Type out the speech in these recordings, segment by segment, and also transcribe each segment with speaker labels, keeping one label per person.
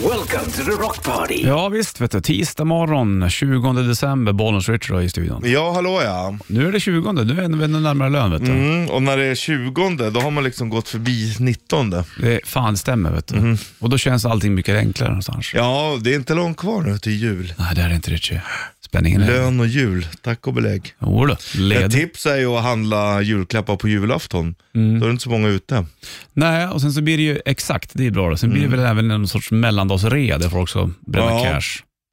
Speaker 1: Welcome to the rock party.
Speaker 2: Ja visst vet du, tisdag morgon 20 december, Bollnäs Richard i studion.
Speaker 3: Ja, hallå ja.
Speaker 2: Nu är det 20, nu är vi ännu närmare lön vet du.
Speaker 3: Mm, och när det är 20 då har man liksom gått förbi 19.
Speaker 2: Det, fan det stämmer vet du. Och då känns allting mycket enklare någonstans.
Speaker 3: Mm. Ja, det är inte långt kvar nu till jul.
Speaker 2: Nej det är det inte Richie. Spänningen är...
Speaker 3: Lön och jul, tack och belägg.
Speaker 2: Jodå,
Speaker 3: Ett
Speaker 2: led.
Speaker 3: tips är ju att handla julklappar på julafton. Då är det inte så många ute.
Speaker 2: Nej, och sen så blir det ju, exakt det är bra då. Sen blir det väl även någon sorts mellandagsrea där folk ska bränna
Speaker 3: Mm. Ja.
Speaker 2: cash.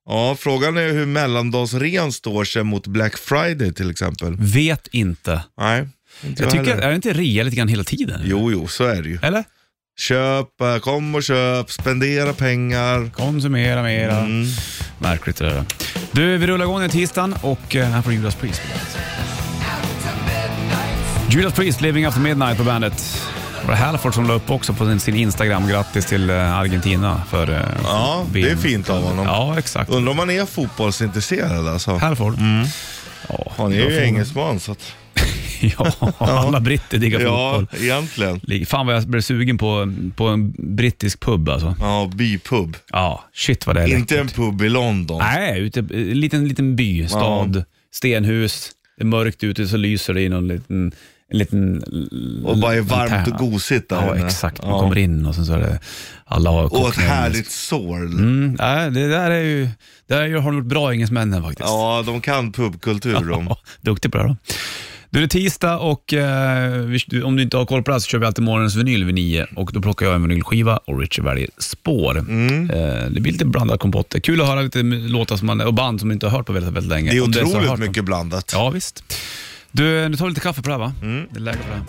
Speaker 3: Ja, frågan är hur mellandagsrean står sig mot Black Friday till exempel.
Speaker 2: Vet inte.
Speaker 3: Nej, inte
Speaker 2: Jag tycker,
Speaker 3: heller.
Speaker 2: är det inte rea lite grann hela tiden?
Speaker 3: Jo, jo, så är det ju.
Speaker 2: Eller?
Speaker 3: Köp, eh, kom och köp, spendera pengar.
Speaker 2: Konsumera mera.
Speaker 3: Mm.
Speaker 2: Märkligt det där. Du, vi rullar igång den tisdagen och eh, här får Judas Priest på bandet. Judas Priest, Living After Midnight på bandet. Var det Halford som la upp också på sin, sin Instagram, grattis till eh, Argentina för eh,
Speaker 3: Ja,
Speaker 2: VM.
Speaker 3: det är fint av honom.
Speaker 2: Ja, exakt.
Speaker 3: Undrar om han är fotbollsintresserad alltså.
Speaker 2: Halford. Ja,
Speaker 3: Han är
Speaker 2: jag
Speaker 3: ju
Speaker 2: får-
Speaker 3: engelsman så att...
Speaker 2: Ja, alla britter diggar
Speaker 3: Ja,
Speaker 2: fotboll.
Speaker 3: egentligen.
Speaker 2: Fan vad jag blev sugen på, på en brittisk pub alltså.
Speaker 3: Ja, bypub.
Speaker 2: Ja, shit vad det är
Speaker 3: Inte en pub i London.
Speaker 2: Nej, ute, en liten, liten by, stad, stenhus. Det är mörkt ute så lyser det i någon liten... En liten
Speaker 3: Och bara är varmt
Speaker 2: lantern.
Speaker 3: och gosigt där
Speaker 2: Ja,
Speaker 3: inne.
Speaker 2: exakt. Man
Speaker 3: Ja.
Speaker 2: kommer in och sen så är det... Alla har
Speaker 3: Och ett
Speaker 2: cocktail.
Speaker 3: härligt sorl.
Speaker 2: Mm, nej, det där är ju... Det där är ju- har de gjort bra engelsmännen faktiskt.
Speaker 3: Ja, de kan pubkultur de.
Speaker 2: Ja, Duktig på det här då. Du, det är tisdag och eh, vi, du- om du inte har koll på det här så kör vi alltid morgonens vinyl vid nio och då plockar jag en vinylskiva och Richard väljer spår.
Speaker 3: Mm.
Speaker 2: Eh, det blir lite blandad kompott. Det är kul att höra lite låtar som man, och band som man inte har hört på väldigt, väldigt länge.
Speaker 3: Det är
Speaker 2: Om så har hört
Speaker 3: otroligt
Speaker 2: dem.
Speaker 3: mycket blandat.
Speaker 2: Ja, visst. Du, nu tar vi lite kaffe på det här va?
Speaker 3: Mm.
Speaker 2: Det är läge för det. här.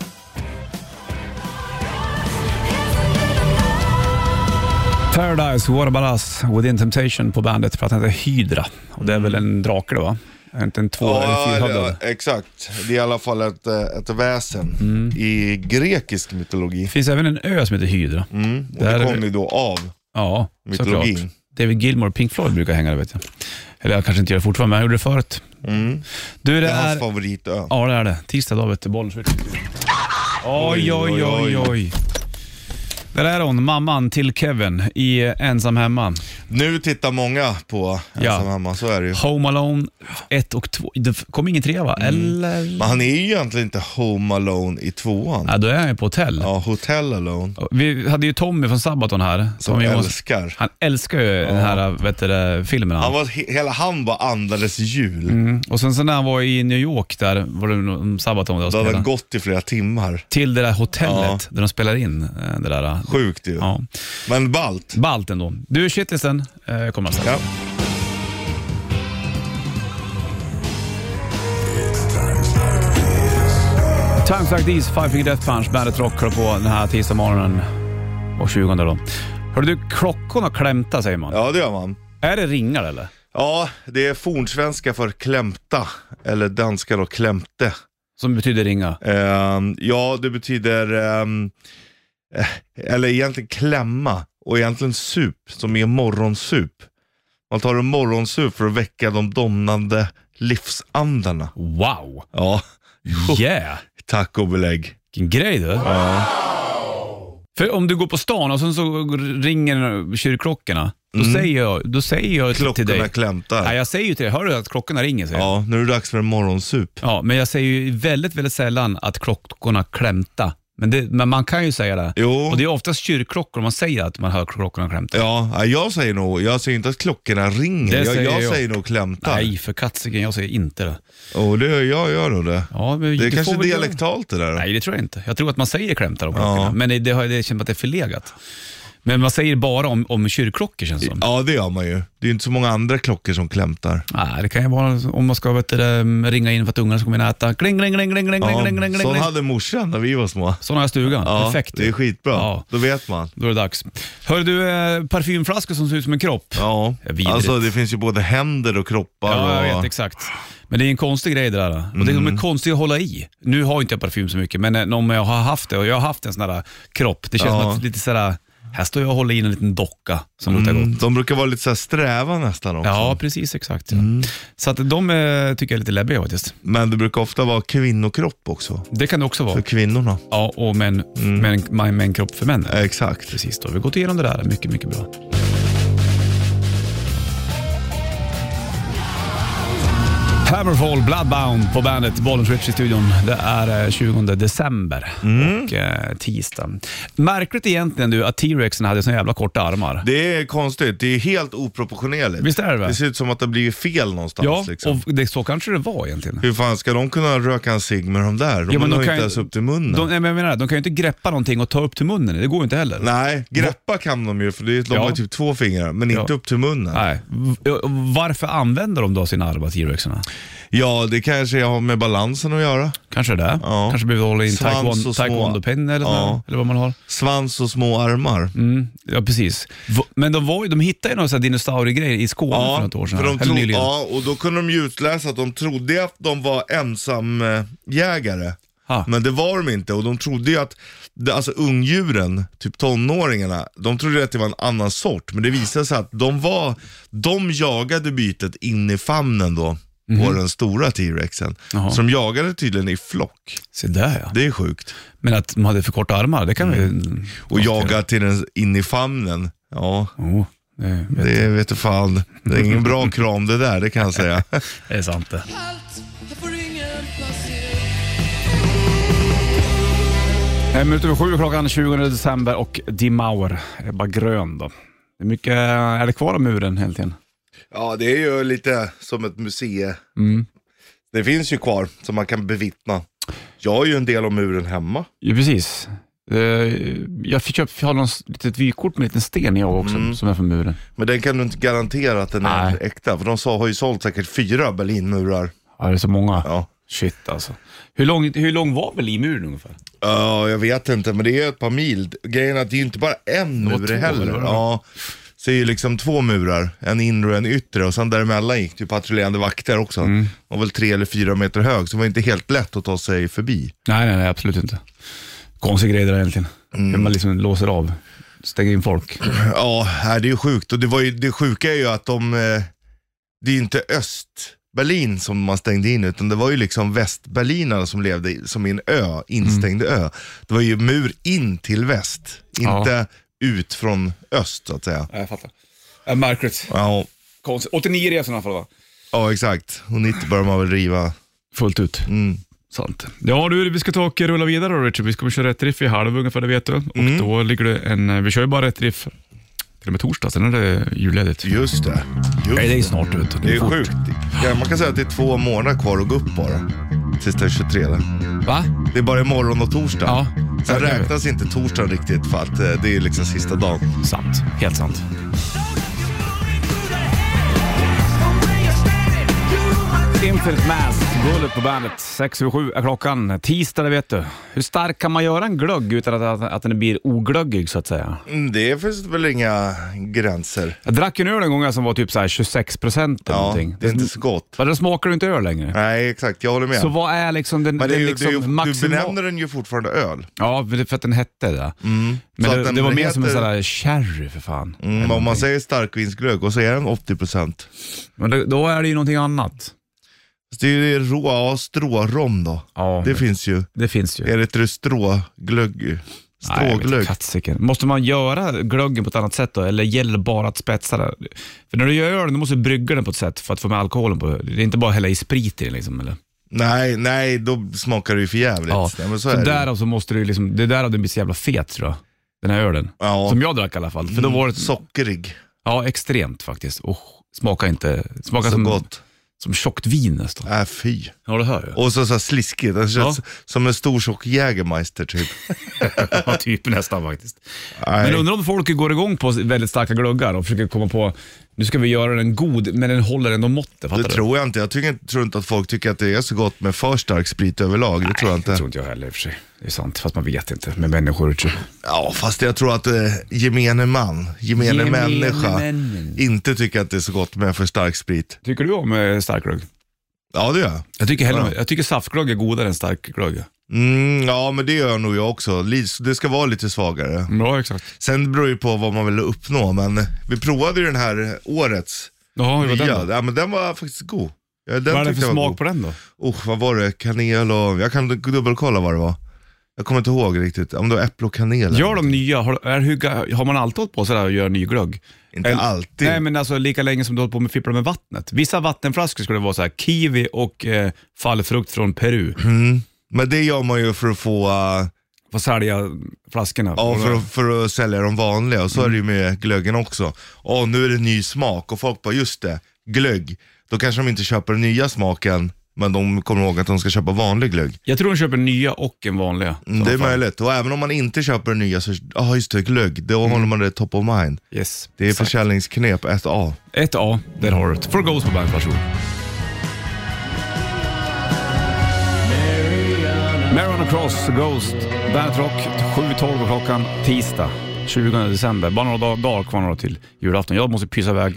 Speaker 2: Paradise, What About Us, Within Temptation på bandet för att den heter Hydra. Och det är väl en drake då va? Är det inte en två eller
Speaker 3: Mm. Ja,
Speaker 2: fyrhövdad?
Speaker 3: ja, exakt. Det är i alla fall ett, eh, ett väsen
Speaker 2: Mm.
Speaker 3: i grekisk mytologi.
Speaker 2: Det finns även en ö som heter Hydra.
Speaker 3: Mm. Och
Speaker 2: Där-
Speaker 3: det kommer ju då av.
Speaker 2: Ja,
Speaker 3: Mytologin.
Speaker 2: såklart. David Gilmour och Pink Floyd brukar hänga där vet jag. Eller jag kanske inte gör det fortfarande, men jag gjorde det förut.
Speaker 3: Mm.
Speaker 2: Du, det,
Speaker 3: Det är
Speaker 2: är...
Speaker 3: hans favoritö.
Speaker 2: Ja, det är det. Tisdag dag vet du, Bollnäs vet du. Oj, oj, oj, oj. Där är hon, mamman till Kevin i eh, Ensam Hemma.
Speaker 3: Nu tittar många på
Speaker 2: Ja.
Speaker 3: ensam hemma, så är det ju.
Speaker 2: Home Alone 1 och 2. Det kom ingen trea va?
Speaker 3: Mm.
Speaker 2: Eller?
Speaker 3: Men han är ju egentligen inte home alone i tvåan.
Speaker 2: Ja, då är han ju på hotell.
Speaker 3: Ja, hotel alone.
Speaker 2: Vi hade ju Tommy från Sabaton här.
Speaker 3: Som
Speaker 2: Tommy Johansson.
Speaker 3: älskar.
Speaker 2: Han älskar ju den här vet du, det, filmen. Han.
Speaker 3: Han var, he- hela han bara andades jul.
Speaker 2: Mm. Och sen så när han var i New York där, var det någon Sabaton där
Speaker 3: Då hade
Speaker 2: spelade,
Speaker 3: han gått i flera timmar.
Speaker 2: till det där hotellet där de spelar in eh, det där.
Speaker 3: Sjukt ju.
Speaker 2: Ja.
Speaker 3: Men balt.
Speaker 2: Ballt ändå. Du, shitlisten eh, kommer alltså.
Speaker 3: Ja.
Speaker 2: Times like these, Five Finger Death Punch, Bandet Rock håller på den här tisdagsmorgonen. Och 20 då. Hörru du, klockorna klämta säger man.
Speaker 3: ja, det gör man.
Speaker 2: Är det ringar eller?
Speaker 3: Ja, det är fornsvenska för klämta, eller danska då klämte.
Speaker 2: Som betyder ringa.
Speaker 3: Ehm, ja, det betyder, ehm, eh, eller egentligen klämma, och egentligen sup, som är morgonsup. Man tar en morgonsup för att väcka de domnande livsandarna.
Speaker 2: Wow!
Speaker 3: Ja,
Speaker 2: Yeah!
Speaker 3: tack och belägg.
Speaker 2: Vilken grej du. För om du går på stan och sen så ringer kyrkklockorna, då säger jag, då säger jag till
Speaker 3: Mm. Klockorna
Speaker 2: dig. Ja,
Speaker 3: klämtar.
Speaker 2: jag säger ju till dig, hör du att klockorna ringer? Säger jag.
Speaker 3: Ja, nu är det dags för en morgonsup.
Speaker 2: ja, men jag säger ju väldigt, väldigt sällan att klockorna klämta. Men, det, men man kan ju säga det.
Speaker 3: Jo.
Speaker 2: Och det är oftast kyrkklockor man säger att man hör klockorna klämta.
Speaker 3: Ja, nej, jag säger nog, jag säger inte att klockorna ringer.
Speaker 2: Det
Speaker 3: jag,
Speaker 2: säger
Speaker 3: jag,
Speaker 2: jag.
Speaker 3: säger nog klämtar.
Speaker 2: Nej, för katsiken, jag säger inte det.
Speaker 3: Och det, jag gör nog det.
Speaker 2: Ja, men
Speaker 3: Det
Speaker 2: du
Speaker 3: är kanske
Speaker 2: får väl-
Speaker 3: dialektalt det där.
Speaker 2: Nej, det tror jag inte. Jag tror att man säger klämtar om klockorna, men det, det, har- det känns som att det är förlegat. Men man säger bara om, om kyrkklockor känns det som.
Speaker 3: Ja, det gör man ju. Det är ju inte så många andra klockor som klämtar.
Speaker 2: Nej, det kan ju vara om man ska vet du, det, mm, ringa in för att ungarna ska komma in och äta. Kling, kling, kling, kling, kling,
Speaker 3: Ja,
Speaker 2: kling, kling, kling,
Speaker 3: sån
Speaker 2: kling.
Speaker 3: hade morsan när vi var små.
Speaker 2: Sån har jag i stugan.
Speaker 3: Ja,
Speaker 2: Perfekt.
Speaker 3: Det är skitbra.
Speaker 2: Ja.
Speaker 3: Då vet man.
Speaker 2: Då är det dags. Hör du, eh, parfymflaskor som ser ut som en kropp.
Speaker 3: Ja,
Speaker 2: Ja, vidrigt.
Speaker 3: alltså det finns ju både händer och kroppar.
Speaker 2: Ja, jag
Speaker 3: och... Mm.
Speaker 2: vet exakt. Men det är en konstig grej det där. Och det är, de är konstiga att hålla i. Nu har inte jag parfym så mycket, men eh, om jag har haft det och jag har haft en sån där kropp, det känns
Speaker 3: Ja.
Speaker 2: som att lite sådär, här står jag och håller i en liten docka som luktar gott.
Speaker 3: Mm, de brukar vara lite så här sträva nästan också.
Speaker 2: Ja, precis exakt. Ja.
Speaker 3: Mm.
Speaker 2: Så att de eh, tycker jag är lite läbbiga faktiskt.
Speaker 3: Men det brukar ofta vara kvinnokropp också.
Speaker 2: Det kan det också vara.
Speaker 3: För kvinnorna.
Speaker 2: Ja, och män, män, män, män kropp för män.
Speaker 3: Mm. Exakt.
Speaker 2: Precis, då har vi gått igenom det där. Mycket, mycket bra. Hammerfall Bloodbound på bandet, Bollens Rich i studion. Det är eh, 20 december
Speaker 3: Mm.
Speaker 2: och eh, tisdag. Märkligt egentligen du att T-Rexen hade så jävla korta armar.
Speaker 3: Det är konstigt. Det är helt oproportionerligt.
Speaker 2: Visst är det väl?
Speaker 3: Det ser ut som att det har blivit fel någonstans.
Speaker 2: Ja,
Speaker 3: liksom.
Speaker 2: och det, så kanske det var egentligen.
Speaker 3: Hur fan ska de kunna röka en cigg med de där? De
Speaker 2: Ja, men
Speaker 3: når
Speaker 2: de
Speaker 3: ju
Speaker 2: kan
Speaker 3: inte
Speaker 2: ju-
Speaker 3: ens upp till munnen.
Speaker 2: De, nej, men jag menar, de kan ju inte greppa någonting och ta upp till munnen. Det går ju inte heller.
Speaker 3: Nej, greppa kan de ju för det, de
Speaker 2: Ja.
Speaker 3: har ju typ två fingrar, men
Speaker 2: Ja.
Speaker 3: inte upp till munnen.
Speaker 2: Nej. V- Varför använder de då sina armar, T-Rexarna?
Speaker 3: Ja, det kanske har med balansen att göra.
Speaker 2: Kanske det.
Speaker 3: Ja.
Speaker 2: Kanske behöver hålla in
Speaker 3: Svans
Speaker 2: taekwondo-
Speaker 3: och små.
Speaker 2: taekwondo-pinne eller,
Speaker 3: Ja.
Speaker 2: sådär, eller vad man har.
Speaker 3: Svans och små armar.
Speaker 2: Mm, ja, precis. V- Men de, var, ju- de hittade ju några sådär dinosauriegrejer i Skåne för något år sedan.
Speaker 3: för de
Speaker 2: eller
Speaker 3: tro-
Speaker 2: nyligen.
Speaker 3: ja, och då kunde de ju utläsa att de trodde att de var eh, ensamjägare.
Speaker 2: Ha.
Speaker 3: Men det var de inte och de trodde ju att, det- alltså ungdjuren, typ tonåringarna, de trodde att det var en annan sort. Men det visade sig att de var, de jagade bytet in i famnen då, på den stora T-rexen.
Speaker 2: Jaha.
Speaker 3: Så de jagade tydligen i flock.
Speaker 2: Se där ja.
Speaker 3: Det är sjukt.
Speaker 2: Men att de hade för korta armar, det kan vi ju...
Speaker 3: Och jaga till den in i famnen. Ja,
Speaker 2: Jo, Oh, det, det.
Speaker 3: det vet du fan. Det är ingen bra kram det där, det kan jag säga.
Speaker 2: är sant det.
Speaker 1: allt, här får ingen placera
Speaker 2: En minut över sju klockan 20 december och Dimauer är bara grön då. Det är mycket, är det kvar av muren egentligen?
Speaker 3: Ja, det är ju lite som ett museum.
Speaker 2: Mm.
Speaker 3: Det finns ju kvar som man kan bevittna. Jag har ju en del av muren hemma.
Speaker 2: Ja, precis. Eh, Jag fick köpa, jag har något litet vykort med en liten sten jag också, som är från muren.
Speaker 3: Men den kan du inte garantera att den är
Speaker 2: Nej.
Speaker 3: äkta. För de sa, har ju sålt säkert fyra Berlinmurar.
Speaker 2: Ja, det är så många.
Speaker 3: Ja.
Speaker 2: Shit alltså. Hur lång, hur lång var Berlinmuren ungefär?
Speaker 3: ja, jag vet inte, men det är ett par mil. Grejen är att det är ju inte bara en
Speaker 2: var
Speaker 3: mur
Speaker 2: två, eller
Speaker 3: heller.
Speaker 2: vad det var?
Speaker 3: Ja, så det är ju liksom två murar. En inre och en yttre. Och sen däremellan gick det ju patrullerande vakter också.
Speaker 2: Mm.
Speaker 3: De var väl tre eller fyra meter hög, så det var inte helt lätt att ta sig förbi.
Speaker 2: Nej, nej, nej absolut inte. Konstig grej det där egentligen. Hur man liksom låser av, stänger in folk.
Speaker 3: Ja, här, det är ju sjukt. Och det, var ju, det sjuka är ju att de, eh, det är ju inte Östberlin som man stängde in, utan det var ju liksom Västberlinarna som levde i- som i en ö, instängd ö. Det var ju mur in till väst,
Speaker 2: Mm. Ja.
Speaker 3: inte ut från öst så att säga.
Speaker 2: Ja, jag fattar. Äh, Märkligt.
Speaker 3: Ja,
Speaker 2: Konstigt. 89 resor i alla fall va?
Speaker 3: ja exakt. Och 90 började man väl riva.
Speaker 2: Fullt ut.
Speaker 3: Mm.
Speaker 2: Sant. Ja du, vi ska ta och rulla vidare då Richard. Vi kommer köra rätt riff i halv ungefär, det vet du. Och då ligger det en, vi kör ju bara rätt riff till och med torsdag, sen är det julledigt.
Speaker 3: Just det. Just
Speaker 2: Nej,
Speaker 3: det.
Speaker 2: det är snart ut.
Speaker 3: Det är sjukt. Ja, man kan säga att det är två månader kvar att gå upp bara. Sista 23.
Speaker 2: Va?
Speaker 3: Det är bara imorgon och torsdag.
Speaker 2: Ja.
Speaker 3: Sen räknas inte torsdagen riktigt för att eh, det är liksom sista dagen.
Speaker 2: Sant. Helt sant. Infinite Mass, Bullet på bandet. 6 över 7 är klockan. Tisdag, det vet du. Hur stark kan man göra en glögg utan att, att, att den blir oglöggig så att säga?
Speaker 3: Mm, Det finns väl inga gränser.
Speaker 2: Jag drack en öl en gång som var typ så här 26 procent eller
Speaker 3: Ja,
Speaker 2: någonting.
Speaker 3: det är inte så gott.
Speaker 2: Vad, Då smakar du inte öl längre.
Speaker 3: Nej, exakt. Jag håller med.
Speaker 2: Så vad är liksom den,
Speaker 3: men det är
Speaker 2: den
Speaker 3: ju,
Speaker 2: liksom
Speaker 3: det är ju, du
Speaker 2: maximal...
Speaker 3: benämner den ju fortfarande öl.
Speaker 2: Ja, för det- för att den hette det. Men
Speaker 3: Mm. Så att
Speaker 2: det,
Speaker 3: den
Speaker 2: det var mer som en
Speaker 3: heter-
Speaker 2: sån här sherry för fan.
Speaker 3: Mm, om man säger starkvinsglögg och så är den 80%.
Speaker 2: Men det, då är det ju någonting annat.
Speaker 3: Så det är ju rå, ja, strårom då.
Speaker 2: Ja,
Speaker 3: Det finns ju.
Speaker 2: det finns ju.
Speaker 3: Är det inte det stråglögg?
Speaker 2: Nej, jag vet
Speaker 3: Stråglögg.
Speaker 2: inte, katsiken. Måste man göra glöggen på ett annat sätt då, eller gäller det bara att spetsa den? För när du gör ölen, du måste du brygga den på ett sätt för att få med alkoholen på. Det är inte bara att hälla i sprit i den liksom, eller?
Speaker 3: nej, nej, då smakar det ju för jävligt. Nej, men så
Speaker 2: så
Speaker 3: är det. ju.
Speaker 2: därav så måste du ju liksom, det är därav den blir så jävla fet tror jag. Den här ölen.
Speaker 3: Ja. Mm,
Speaker 2: Som jag drack i alla fall. För då var det,
Speaker 3: Sockerig.
Speaker 2: ja extremt faktiskt. Och smaka inte, smaka
Speaker 3: Så
Speaker 2: som,
Speaker 3: gott.
Speaker 2: som tjockt vin nästan.
Speaker 3: Äh, fy.
Speaker 2: Ja det hör jag.
Speaker 3: Och så, så här sliskigt. Den känns
Speaker 2: Ja.
Speaker 3: som en stor tjock Jägermeister typ.
Speaker 2: Ja, typ nästan faktiskt.
Speaker 3: Nej.
Speaker 2: Men undrar om folk går igång på väldigt starka glöggar och försöker komma på, nu ska vi göra den god, men den håller ändå måttet. Fattar
Speaker 3: Det
Speaker 2: du?
Speaker 3: tror jag inte. Jag tycker, inte- tror inte att folk tycker att det är så gott med för stark sprit överlag. Det tror jag
Speaker 2: Det
Speaker 3: inte.
Speaker 2: tror inte jag heller i och för sig. Det är sant, fast man vet inte med människor. tror jag.
Speaker 3: Ja, fast jag tror att eh, gemene man, gemene,
Speaker 2: Gemene
Speaker 3: människa,
Speaker 2: männen.
Speaker 3: inte tycker att det är så gott med för stark sprit.
Speaker 2: Tycker du om eh, starkglögg?
Speaker 3: Ja, det gör jag.
Speaker 2: Jag tycker, hellre,
Speaker 3: Ja.
Speaker 2: jag tycker saftglögg är godare än starkglögg.
Speaker 3: Mm, ja, men det gör nog jag också. Li- Det ska vara lite svagare.
Speaker 2: Ja, exakt.
Speaker 3: Sen beror det ju på vad man vill uppnå, men vi provade ju den här årets.
Speaker 2: Jaha, hur var den
Speaker 3: nya.
Speaker 2: då?
Speaker 3: Ja, men den var faktiskt god. Ja, den
Speaker 2: Vad är det
Speaker 3: tyckte
Speaker 2: för
Speaker 3: jag var
Speaker 2: smak
Speaker 3: god.
Speaker 2: på den då?
Speaker 3: Oh, vad var det? Kanel och... Jag kan dubbelkolla vad det var. Jag kommer inte ihåg riktigt. Om det var äpple och kanel.
Speaker 2: Gör de nya, har, är, hur, har man alltid hållit på sådär och gör ny glögg?
Speaker 3: Inte
Speaker 2: Eller-
Speaker 3: alltid.
Speaker 2: Nej, men alltså lika länge som du håller på med fipplar med vattnet. Vissa vattenflaskor skulle det vara så här, kiwi och eh, fallfrukt från Peru.
Speaker 3: Mm. Men det gör man ju för att få, eh,
Speaker 2: Får sälja flaskorna.
Speaker 3: ja, för, att- för att sälja de vanliga. Och så är det ju med glöggen också. Åh, nu är det ny smak och folk bara, just det, glögg. Då kanske de inte köper den nya smaken, men de kommer ihåg att de ska köpa vanlig glögg.
Speaker 2: Jag tror de köper nya och en vanliga.
Speaker 3: Mm, det är möjligt. Och även om man inte köper den nya så, ja just det, glögg. Då håller man det top of mind.
Speaker 2: Yes.
Speaker 3: Det är
Speaker 2: Exakt.
Speaker 3: försäljningsknep 1A.
Speaker 2: Ett A, där har du det. For Ghost på bandet, varsågod. Marion Cross, Ghost, Bandet Rock, 7.12 på klockan, tisdag 20 december. Bara några dag- dagar kvar några till julafton. Jag måste pysa iväg.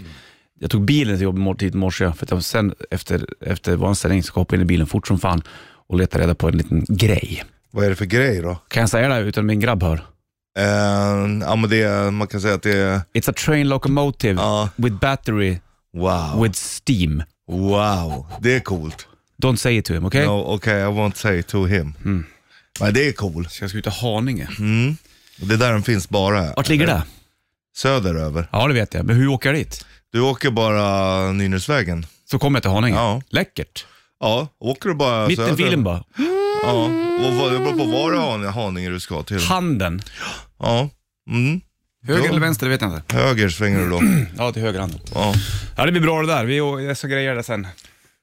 Speaker 2: Jag tog bilen till jobbet mor- tidigt i morse, för att jag sen efter, efter vår ställning ska hoppa in i bilen fort som fan och leta reda på en liten grej.
Speaker 3: Vad är det för grej då?
Speaker 2: Kan jag säga det här utan min grabb hör?
Speaker 3: Eh, ja, men det, är- man kan säga att det är,
Speaker 2: It's a train locomotive
Speaker 3: Ja.
Speaker 2: with battery
Speaker 3: wow.
Speaker 2: with steam.
Speaker 3: Wow, det är coolt.
Speaker 2: Don't say it to him, okej? Mm.
Speaker 3: No, okay, I won't say to him. Men det är cool.
Speaker 2: Ska jag ska ut till Haninge.
Speaker 3: Mm. Det är där den finns bara.
Speaker 2: Vart ligger det?
Speaker 3: Söderöver.
Speaker 2: Ja, det vet jag. Men hur åker jag dit?
Speaker 3: Du åker bara Nynäsvägen.
Speaker 2: Så kommer jag till Haninge.
Speaker 3: Ja.
Speaker 2: Läckert.
Speaker 3: Ja, åker du bara
Speaker 2: Mitt i
Speaker 3: söder.
Speaker 2: bilen bara.
Speaker 3: Ja, och vad- det beror på var i Han- Haninge du ska till.
Speaker 2: Handen.
Speaker 3: Ja, mm.
Speaker 2: Höger
Speaker 3: Ja.
Speaker 2: eller vänster, det vet jag inte.
Speaker 3: höger svänger du då.
Speaker 2: Ja, till höger hand.
Speaker 3: Ja.
Speaker 2: Ja, det blir bra det där. Vi å- jag ska greja det sen.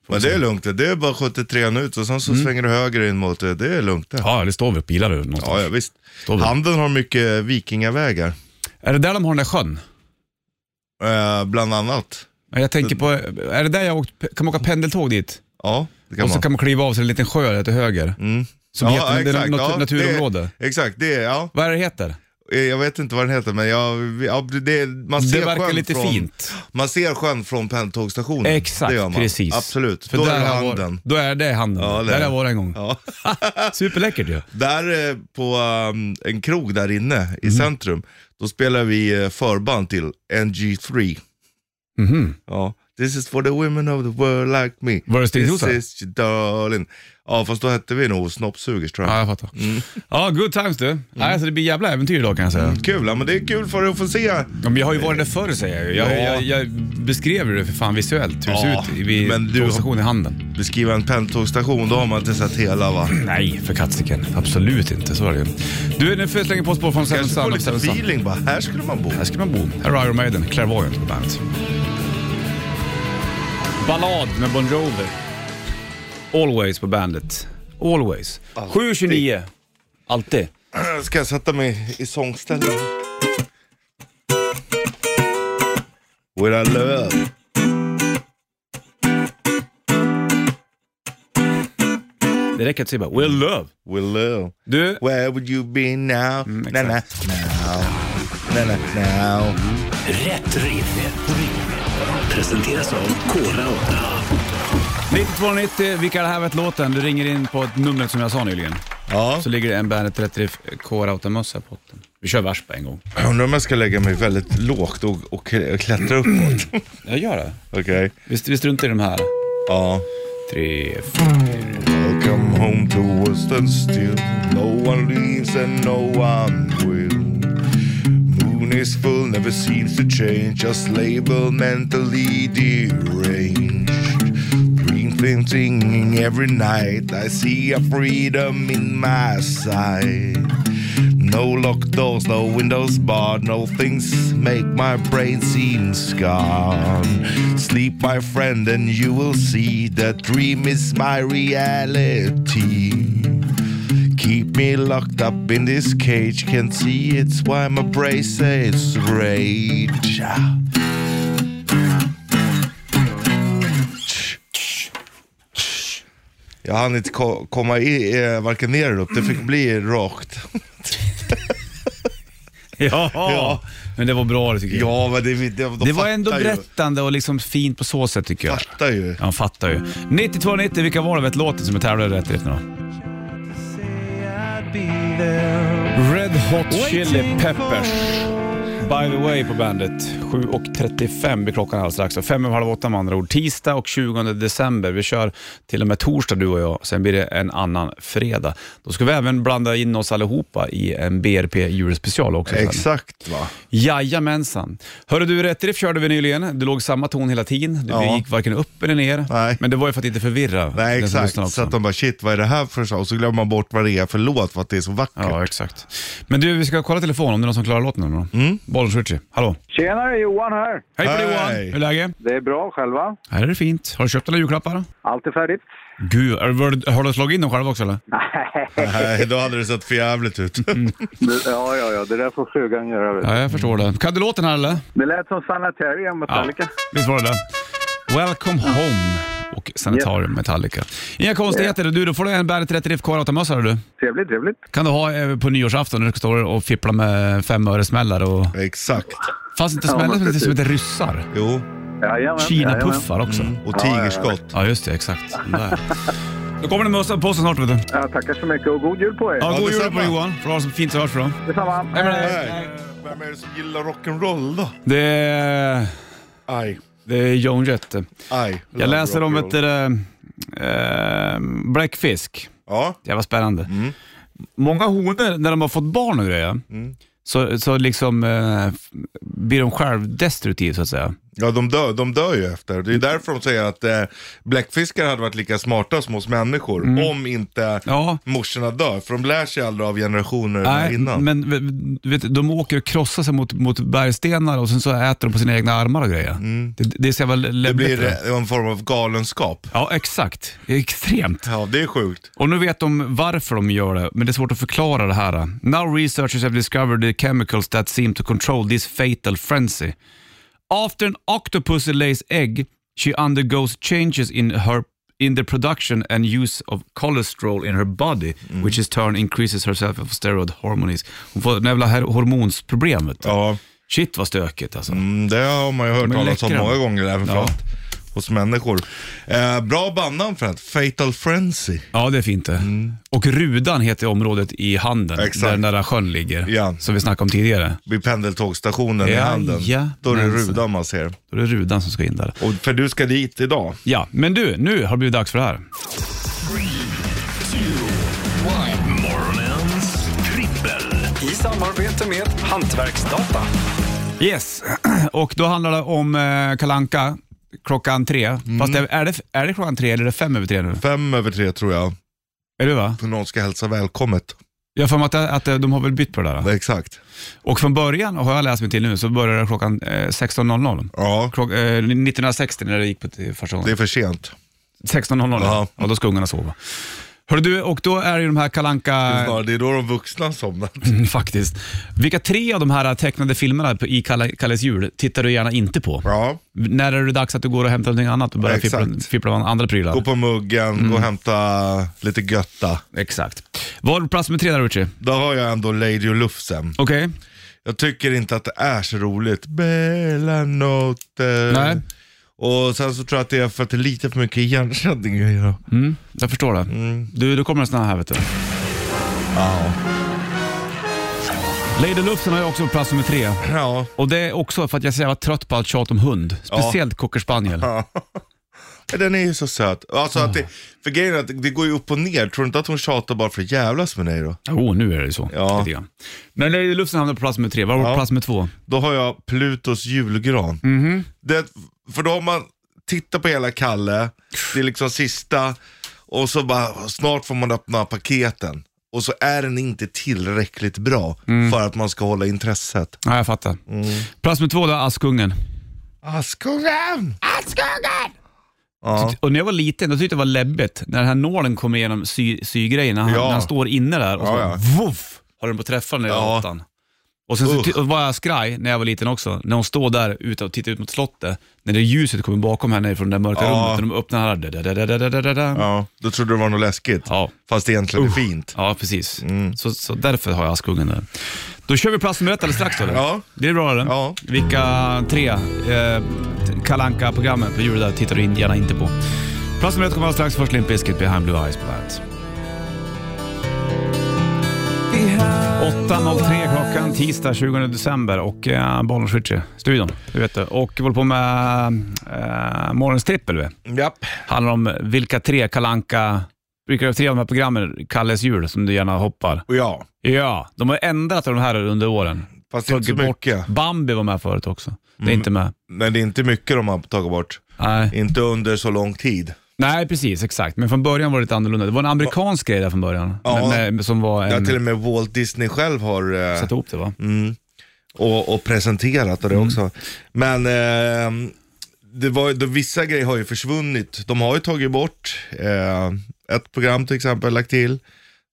Speaker 3: Men det är lugnt det. Det är bara 73 ut och sen så svänger du höger in mot det. Det är lugnt det.
Speaker 2: Mm. Ja, eller står vi och pilar ur någonstans.
Speaker 3: Ja, ja visst.
Speaker 2: Står vi.
Speaker 3: Handen har mycket vikingavägar.
Speaker 2: Är det där de har den där sjön?
Speaker 3: Eh, bland annat.
Speaker 2: Ja, Jag tänker på, är det där jag åkt, kan man åka pendeltåg dit?
Speaker 3: Ja, det kan
Speaker 2: och så
Speaker 3: man.
Speaker 2: kan man kliva av sig en liten sjö där till höger.
Speaker 3: Mm.
Speaker 2: Som heter, det är något naturområde.
Speaker 3: Det, exakt, det är, ja.
Speaker 2: Vad är det heter?
Speaker 3: Eh, Jag vet inte vad den heter men jag, vi- ja, det, man ser
Speaker 2: Det verkar
Speaker 3: sjön
Speaker 2: lite
Speaker 3: från,
Speaker 2: fint.
Speaker 3: Man ser sjön från pendeltågsstationen.
Speaker 2: Exakt,
Speaker 3: det gör man.
Speaker 2: precis.
Speaker 3: Absolut,
Speaker 2: För
Speaker 3: då
Speaker 2: där
Speaker 3: är det
Speaker 2: har jag varit-
Speaker 3: handen.
Speaker 2: Då är det handen.
Speaker 3: Ja, det är
Speaker 2: där har
Speaker 3: det.
Speaker 2: jag varit en gång.
Speaker 3: Ja.
Speaker 2: Superläckert ju.
Speaker 3: Där eh, på um, en krog där inne
Speaker 2: Mm.
Speaker 3: i centrum, då spelar vi eh, förband till NG3.
Speaker 2: Mhm.
Speaker 3: Ja. This is for the women of the world like me.
Speaker 2: Var det
Speaker 3: This
Speaker 2: Stigsosa?
Speaker 3: is your darling. Ja fast då hette vi nog Snoppsugers tror jag.
Speaker 2: Ja, jag fattar. Ja, good times du. Nej, Alltså, det blir jävla äventyr idag kan jag säga.
Speaker 3: Kul, ja, men det är kul för dig att få se.
Speaker 2: Ja, Mm. men jag har ju varit där förr säger jag ju. Jag,
Speaker 3: Ja.
Speaker 2: jag, jag beskrev ju det för fan visuellt, hur det
Speaker 3: Ja,
Speaker 2: ser ut vid
Speaker 3: men du-
Speaker 2: tågstationen i handen.
Speaker 3: Beskriva en pendeltågsstation, då har man inte sett hela va.
Speaker 2: Nej, för katsiken. Absolut inte, så är det ju. Du, nu får jag slänga på spår från Seven
Speaker 3: Kanske få
Speaker 2: Sun och
Speaker 3: lite
Speaker 2: Seven Sun.
Speaker 3: feeling bara, här skulle man bo.
Speaker 2: Här ska man bo. Här har Iron Maiden, Clairvoyant på bandet. Ballad med Bon Jovi. Always på bandet. Always. 7.29. Alltid.
Speaker 3: Äh, Ska jag sätta mig i sångställning? With a love.
Speaker 2: Det räcker att säga bara “We're love”.
Speaker 3: With love.
Speaker 2: Du, Mm,
Speaker 3: Where would you be now?
Speaker 2: exakt.
Speaker 3: na, na, now. Na, na, now.
Speaker 4: Rätt riff. Presenteras av Kora 8.
Speaker 2: 9290, vilka är det här vet låten? Du ringer in på ett nummer som jag sa nyligen.
Speaker 3: Ja,
Speaker 2: Så ligger det en Bandet 30 K-Rauta-mössa på botten. Vi kör vers på en gång.
Speaker 3: jag undrar om jag ska lägga mig väldigt lågt och, och klättra uppåt.
Speaker 2: Jag gör det.
Speaker 3: Okej.
Speaker 2: Vi, vi struntar i de här.
Speaker 3: Ja.
Speaker 2: Tre, f-
Speaker 3: I'll come home to a standstill. No one leaves and no one will. Moon is full, never seems to change. Just label mentally deranged. Dream thinking every night. I see a freedom in my sight. No locked doors, no windows barred, no things make my brain seem scarred. Sleep, my friend, and you will see that dream is my reality. Keep me locked up in this cage, can't see it's why my brain says rage. Jag hann inte ko- komma i, eh, varken ner eller upp, det fick bli rakt.
Speaker 2: ja. Men det var bra det tycker jag.
Speaker 3: Ja, men det, det, de
Speaker 2: det var ändå
Speaker 3: fattar ju.
Speaker 2: berättande och liksom fint på så sätt tycker jag.
Speaker 3: Fattar ju.
Speaker 2: Ja, fattar ju. 9290, vilka var det vet låten som är tävlade rätt riff nu då? Red Hot Chili Peppers. By the way på bandet. 7.35 blir klockan alldeles strax. Och Fem över halv åtta med andra ord. Tisdag och 20 december. Vi kör till och med torsdag du och jag. Sen blir det en annan fredag. Då ska vi även blanda in oss allihopa i en BRP julspecial också. sen.
Speaker 3: Exakt va.
Speaker 2: Jajamensan. Hörru du, rätt riff körde vi nyligen. Det låg samma ton hela tiden. Det
Speaker 3: Ja.
Speaker 2: gick varken upp eller ner.
Speaker 3: Nej.
Speaker 2: Men det var ju för att inte förvirra
Speaker 3: Nej
Speaker 2: den som lyssnar
Speaker 3: exakt,
Speaker 2: också.
Speaker 3: så att de bara shit vad är det här för sak? Och så glömmer man bort vad det är för låt för att det är så vackert.
Speaker 2: Ja, exakt. Men du, vi ska kolla telefonen om det är någon som klarar låten. eller Mm. Bollens Ritchie, hallå.
Speaker 5: Tjenare, Johan här.
Speaker 2: Hej på dig
Speaker 3: Hej.
Speaker 2: Johan, hur är läget?
Speaker 5: Det är bra själva.
Speaker 2: Här är det fint. Har du köpt alla julklappar?
Speaker 5: Allt är färdigt.
Speaker 2: Gud, är- var det- har du slagit in dem själv också eller?
Speaker 3: Nej, då hade det sett för jävligt ut.
Speaker 2: Mm.
Speaker 5: Det- Ja, ja, ja. Det där får frugan göra. Vet. du.
Speaker 2: Ja, jag förstår det. Kan du låten här eller?
Speaker 5: Det lät som Sanitarium Metallica.
Speaker 2: Visst var det det? Welcome home och Sanitarium Metallica. Inga konstigheter. Du, då får du en Bandet Rätt Riff K8-mössa hör du.
Speaker 5: Trevligt, trevligt.
Speaker 2: kan du ha eh, på nyårsafton när du står och fipplar med femöresmällare och...
Speaker 3: exakt.
Speaker 2: Fanns inte
Speaker 5: Ja,
Speaker 2: smällar som
Speaker 5: precis.
Speaker 2: heter- som heter ryssar?
Speaker 3: Jo,
Speaker 5: Jajamän,
Speaker 2: Kinapuffar också.
Speaker 3: och tigerskott.
Speaker 2: Ja, just det. Exakt. De där. Då kommer det mössa på påsen snart vet du.
Speaker 5: jajamän. Ja, tackar så mycket och god jul på er.
Speaker 2: Ja, god jul
Speaker 3: detsamma.
Speaker 2: på Johan. Får ha det så fint så hörs vi då.
Speaker 5: Detsamma.
Speaker 2: Hej med dig.
Speaker 3: Nej. Vem är det som gillar rock'n'roll då?
Speaker 2: Det är,
Speaker 3: Aj.
Speaker 2: det är Joan Jett.
Speaker 3: Aj.
Speaker 2: Jag läser om ett
Speaker 3: Rock'n'roll.
Speaker 2: äh, äh, bläckfisk.
Speaker 3: Ja.
Speaker 2: Jävla spännande. Många honor, när de har fått barn och grejer, så, så liksom eh, f- blir de självdestruktiva så att säga.
Speaker 3: Ja, de dör, de dör ju efter. Det är därför de säger att eh, bläckfiskar hade varit lika smarta som oss människor om inte
Speaker 2: Mm. Ja.
Speaker 3: morsorna dör. För de lär sig aldrig av generationer
Speaker 2: Nej,
Speaker 3: innan.
Speaker 2: men v- vet, du, de åker och krossar sig mot, mot bergstenar och sen så äter de på sina egna armar och grejer. Det, det är så jävla
Speaker 3: Mm. det
Speaker 2: läbbigt.
Speaker 3: blir
Speaker 2: det.
Speaker 3: eh, en form av galenskap.
Speaker 2: Ja, exakt. Det är Extremt.
Speaker 3: Ja, det är sjukt.
Speaker 2: Och nu vet de varför de gör det, men det är svårt att förklara det här. Now researchers have discovered the chemicals that seem to control this fatal frenzy. After an octopus lays egg, she undergoes changes in her in the production and use of cholesterol in her body,
Speaker 3: Mm.
Speaker 2: which is turn increases her self of steroid hormones. Hon får en jävla här- hormonsproblem. Vet du.
Speaker 3: Ja,
Speaker 2: Shit vad stökigt alltså.
Speaker 3: mm, det har man ju hört
Speaker 2: De är
Speaker 3: talas om
Speaker 2: läckra.
Speaker 3: många gånger, även
Speaker 2: Ja.
Speaker 3: fast hos människor. Eh, bra bandnamn för att Fatal Frenzy.
Speaker 2: Ja, det är fint det. Och Rudan heter området i handen,
Speaker 3: Mm. Exakt.
Speaker 2: där den där sjön ligger,
Speaker 3: Ja.
Speaker 2: som vi snackade om tidigare.
Speaker 3: Vid pendeltågsstationen i
Speaker 2: Ja,
Speaker 3: handen.
Speaker 2: ja,
Speaker 3: Då är det
Speaker 2: men så-
Speaker 3: rudan man ser.
Speaker 2: Då är det Rudan som ska in där.
Speaker 3: alltså. Och, för du ska dit idag.
Speaker 2: Ja, men du, nu har det blivit dags för det här.
Speaker 4: Morgonens trippel.
Speaker 6: I samarbete med Hantverksdata.
Speaker 2: Yes, och då handlar det om eh, Kalanka klockan tre.
Speaker 3: Mm.
Speaker 2: Fast det, är, det, är det klockan tre eller är det fem över tre nu?
Speaker 3: Fem över tre tror jag.
Speaker 2: Är det va?
Speaker 3: För någon ska hälsa välkommet.
Speaker 2: Jag har för mig att, att eh, de har väl bytt på det där. då.
Speaker 3: Exakt.
Speaker 2: Och från början, och har jag läst mig till nu, så började det klockan eh, 16.00.
Speaker 3: Ja,
Speaker 2: Klock, eh, 1960 när det gick på till första gången.
Speaker 3: det är för sent.
Speaker 2: 16.00 ja.
Speaker 3: Ja.
Speaker 2: ja, då ska ungarna sova. Hörru du, och då är det ju de här Kalanka
Speaker 3: Ja, det är då de vuxna somnar.
Speaker 2: faktiskt. Vilka tre av de här tecknade filmerna på- i Kalle- Kalles jul tittar du gärna inte på?
Speaker 3: Ja,
Speaker 2: När är det dags att du går och hämtar någonting annat och börjar
Speaker 3: Ja,
Speaker 2: fippla,
Speaker 3: exakt.
Speaker 2: fippla med andra prylar?
Speaker 3: gå på muggen, gå och hämta lite götta.
Speaker 2: Exakt. Var plats med tre där Richie?
Speaker 3: Då har jag ändå Lady och Lufsen.
Speaker 2: Okej.
Speaker 3: Jag tycker inte att det är så roligt. Bella notte.
Speaker 2: Nej.
Speaker 3: Och sen så tror jag att det är för att det är lite för mycket igenkänning i det.
Speaker 2: Mm, jag förstår det.
Speaker 3: Mm.
Speaker 2: Du, då kommer en sån här vet du. Lady Lufsen har jag också på plats nummer tre.
Speaker 3: Ja,
Speaker 2: Och det är också för att jag är så jävla trött på allt tjat om hund. Speciellt cocker spaniel.
Speaker 3: den är ju så söt. Alltså att det, för grejen är att det går ju upp och ner. Tror du inte att hon tjatar bara för att jävlas med dig då?
Speaker 2: Jo, Oh, nu är det ju så.
Speaker 3: Ja.
Speaker 2: Lite grann. Men Lady Lufsen hamnar på plats nummer tre. Var har du på
Speaker 3: Ja.
Speaker 2: plats nummer två?
Speaker 3: Då har jag Plutos julgran. Det, för då har man tittat på hela Kalle, det är liksom sista och så bara snart får man öppna paketen. Och så är den inte tillräckligt bra för att man ska hålla intresset.
Speaker 2: Ja, jag fattar.
Speaker 3: Mm.
Speaker 2: Plats nummer två, då är Askungen.
Speaker 3: Askungen! Askungen! Ja,
Speaker 2: Och när jag var liten då tyckte jag det var läbbigt när den här nålen kommer igenom sy, sygrejen. När han,
Speaker 3: Ja.
Speaker 2: när han står inne där och så
Speaker 3: Ja, ja.
Speaker 2: voff, har den på träffaren i
Speaker 3: Ja.
Speaker 2: gatan. Och sen så
Speaker 3: Usch.
Speaker 2: ty- och var jag skraj när jag var liten också, när hon står där ute och tittar ut mot slottet. När det ljuset kommer bakom henne från det där mörka
Speaker 3: Ja.
Speaker 2: rummet och de öppnar här. Da, da, da, da, da, da, da.
Speaker 3: ja, då trodde du det var något läskigt.
Speaker 2: Ja.
Speaker 3: Fast det egentligen är fint. Mm.
Speaker 2: ja, precis. Så, så därför har jag Askungen där. Då kör vi plats nummer ett alldeles strax. Eller?
Speaker 3: Ja.
Speaker 2: Det är bra. Eller?
Speaker 3: Ja.
Speaker 2: Vilka tre eh, kalanka programmen på jul där tittar du in, gärna inte på. Plats nummer ett kommer alldeles strax. Först Limp Bizkit, Behind Blue Eyes på bandet. 8.03 klockan tisdag 20 december och eh, Bollnäs Ritchie, studion. Du vet det. Och vi håller på med eh, morgonens trippel. vi.
Speaker 3: Japp.
Speaker 2: Handlar om vilka tre Kalanka brukar du tre av de här programmen, Kalles jul, som du gärna hoppar.
Speaker 3: Och ja,
Speaker 2: Ja, de har ändrat de här under åren.
Speaker 3: fast det är inte så
Speaker 2: Tagit bort-
Speaker 3: mycket. Mm.
Speaker 2: Bambi var med förut också. Det är inte med.
Speaker 3: Men det är inte mycket de har tagit bort.
Speaker 2: Nej.
Speaker 3: Inte under så lång tid.
Speaker 2: Nej, precis. Exakt. Men från början var det lite annorlunda. Det var en amerikansk grej där från början.
Speaker 3: Ja.
Speaker 2: Men, eh, som var
Speaker 3: Ja,
Speaker 2: en...
Speaker 3: till och med Walt Disney själv har eh,
Speaker 2: Satt ihop det va?
Speaker 3: och, och presenterat och
Speaker 2: Mm.
Speaker 3: det också. Men eh, det var, då, vissa grejer har ju försvunnit. De har ju tagit bort eh, ett program till exempel, lagt till.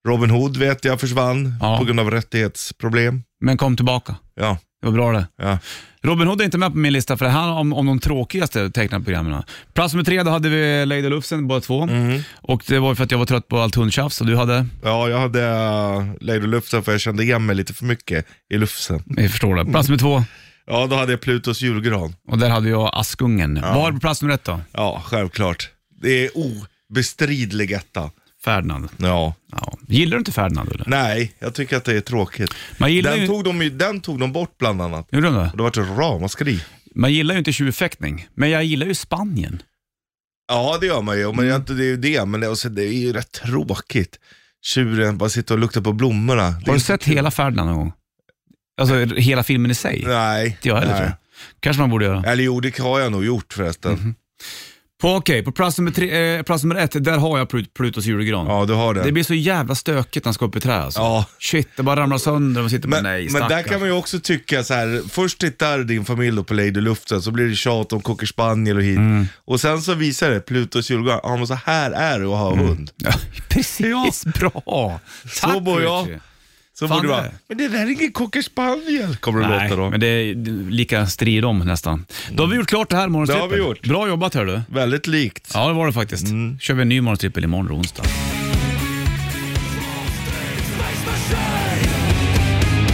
Speaker 3: Robin Hood vet jag försvann
Speaker 2: Ja.
Speaker 3: på grund av rättighetsproblem.
Speaker 2: Men kom tillbaka.
Speaker 3: Ja,
Speaker 2: Det var bra det.
Speaker 3: ja.
Speaker 2: Robin Hood är inte med på min lista för det handlar om, om de tråkigaste tecknade programmen. Plats nummer tre, då hade vi Lady Lufsen båda två.
Speaker 3: Mm.
Speaker 2: Och det var ju för att jag var trött på allt hundtjafs och du hade,
Speaker 3: ja jag hade uh, Lady Lufsen för jag kände igen mig lite för mycket i Lufsen.
Speaker 2: jag förstår det. Plats nummer två,
Speaker 3: Ja, då hade jag Plutos julgran.
Speaker 2: och där hade jag Askungen. Vad har du på plats nummer ett då?
Speaker 3: Ja, självklart. Det är obestridlig etta.
Speaker 2: Ferdinand.
Speaker 3: Ja.
Speaker 2: Ja. Gillar du inte Ferdinand eller?
Speaker 3: Nej, jag tycker att det är tråkigt.
Speaker 2: Man gillar
Speaker 3: Den
Speaker 2: ju-
Speaker 3: tog, de, ju- den tog de bort bland annat.
Speaker 2: Gjorde de det?
Speaker 3: Och det vart ett ramaskri.
Speaker 2: Man gillar ju inte tjuvfäktning, men jag gillar ju Spanien.
Speaker 3: Ja, det gör man ju. Men det är inte det, är ju det. Men det, och så, det är ju rätt tråkigt. Tjuren bara sitter och luktar på blommorna.
Speaker 2: Har du sett hela Ferdinand någon gång? Alltså hela filmen i sig?
Speaker 3: Nej.
Speaker 2: Inte jag heller tror
Speaker 3: nej.
Speaker 2: jag. Mhm. Kanske man borde göra.
Speaker 3: Eller jo, det har jag nog gjort förresten.
Speaker 2: På, okej, på plats nummer, tre, eh, plats nummer ett, där har jag Plut- Plutos julgran.
Speaker 3: Ja, du har det.
Speaker 2: Det blir så jävla stökigt när han ska upp i trä alltså.
Speaker 3: Ja.
Speaker 2: Shit, det bara ramlar sönder och man sitter
Speaker 3: Men,
Speaker 2: bara nej,
Speaker 3: men där
Speaker 2: stackarn.
Speaker 3: kan man ju också tycka så här. först tittar din familj då på Lady Lufsen, så blir det tjat om Cocker Spaniel och hit. Och sen så visar det Plutos julgran, ja men så här är det att ha hund.
Speaker 2: Ja, precis, bra.
Speaker 3: Så bor jag.
Speaker 2: Richie.
Speaker 3: Så
Speaker 2: Fan,
Speaker 3: borde det
Speaker 2: det
Speaker 3: vara,
Speaker 2: är.
Speaker 3: men det där är ingen Cocker Spaniel, kommer det
Speaker 2: Nej,
Speaker 3: låta då.
Speaker 2: men det är lika strid om nästan. Då har vi gjort klart det här morgonstrippel.
Speaker 3: Det har vi gjort. Mm.
Speaker 2: Bra jobbat hör du.
Speaker 3: Väldigt likt.
Speaker 2: Ja, det var det faktiskt. kör vi en ny morgonstrippel imorgon, onsdag.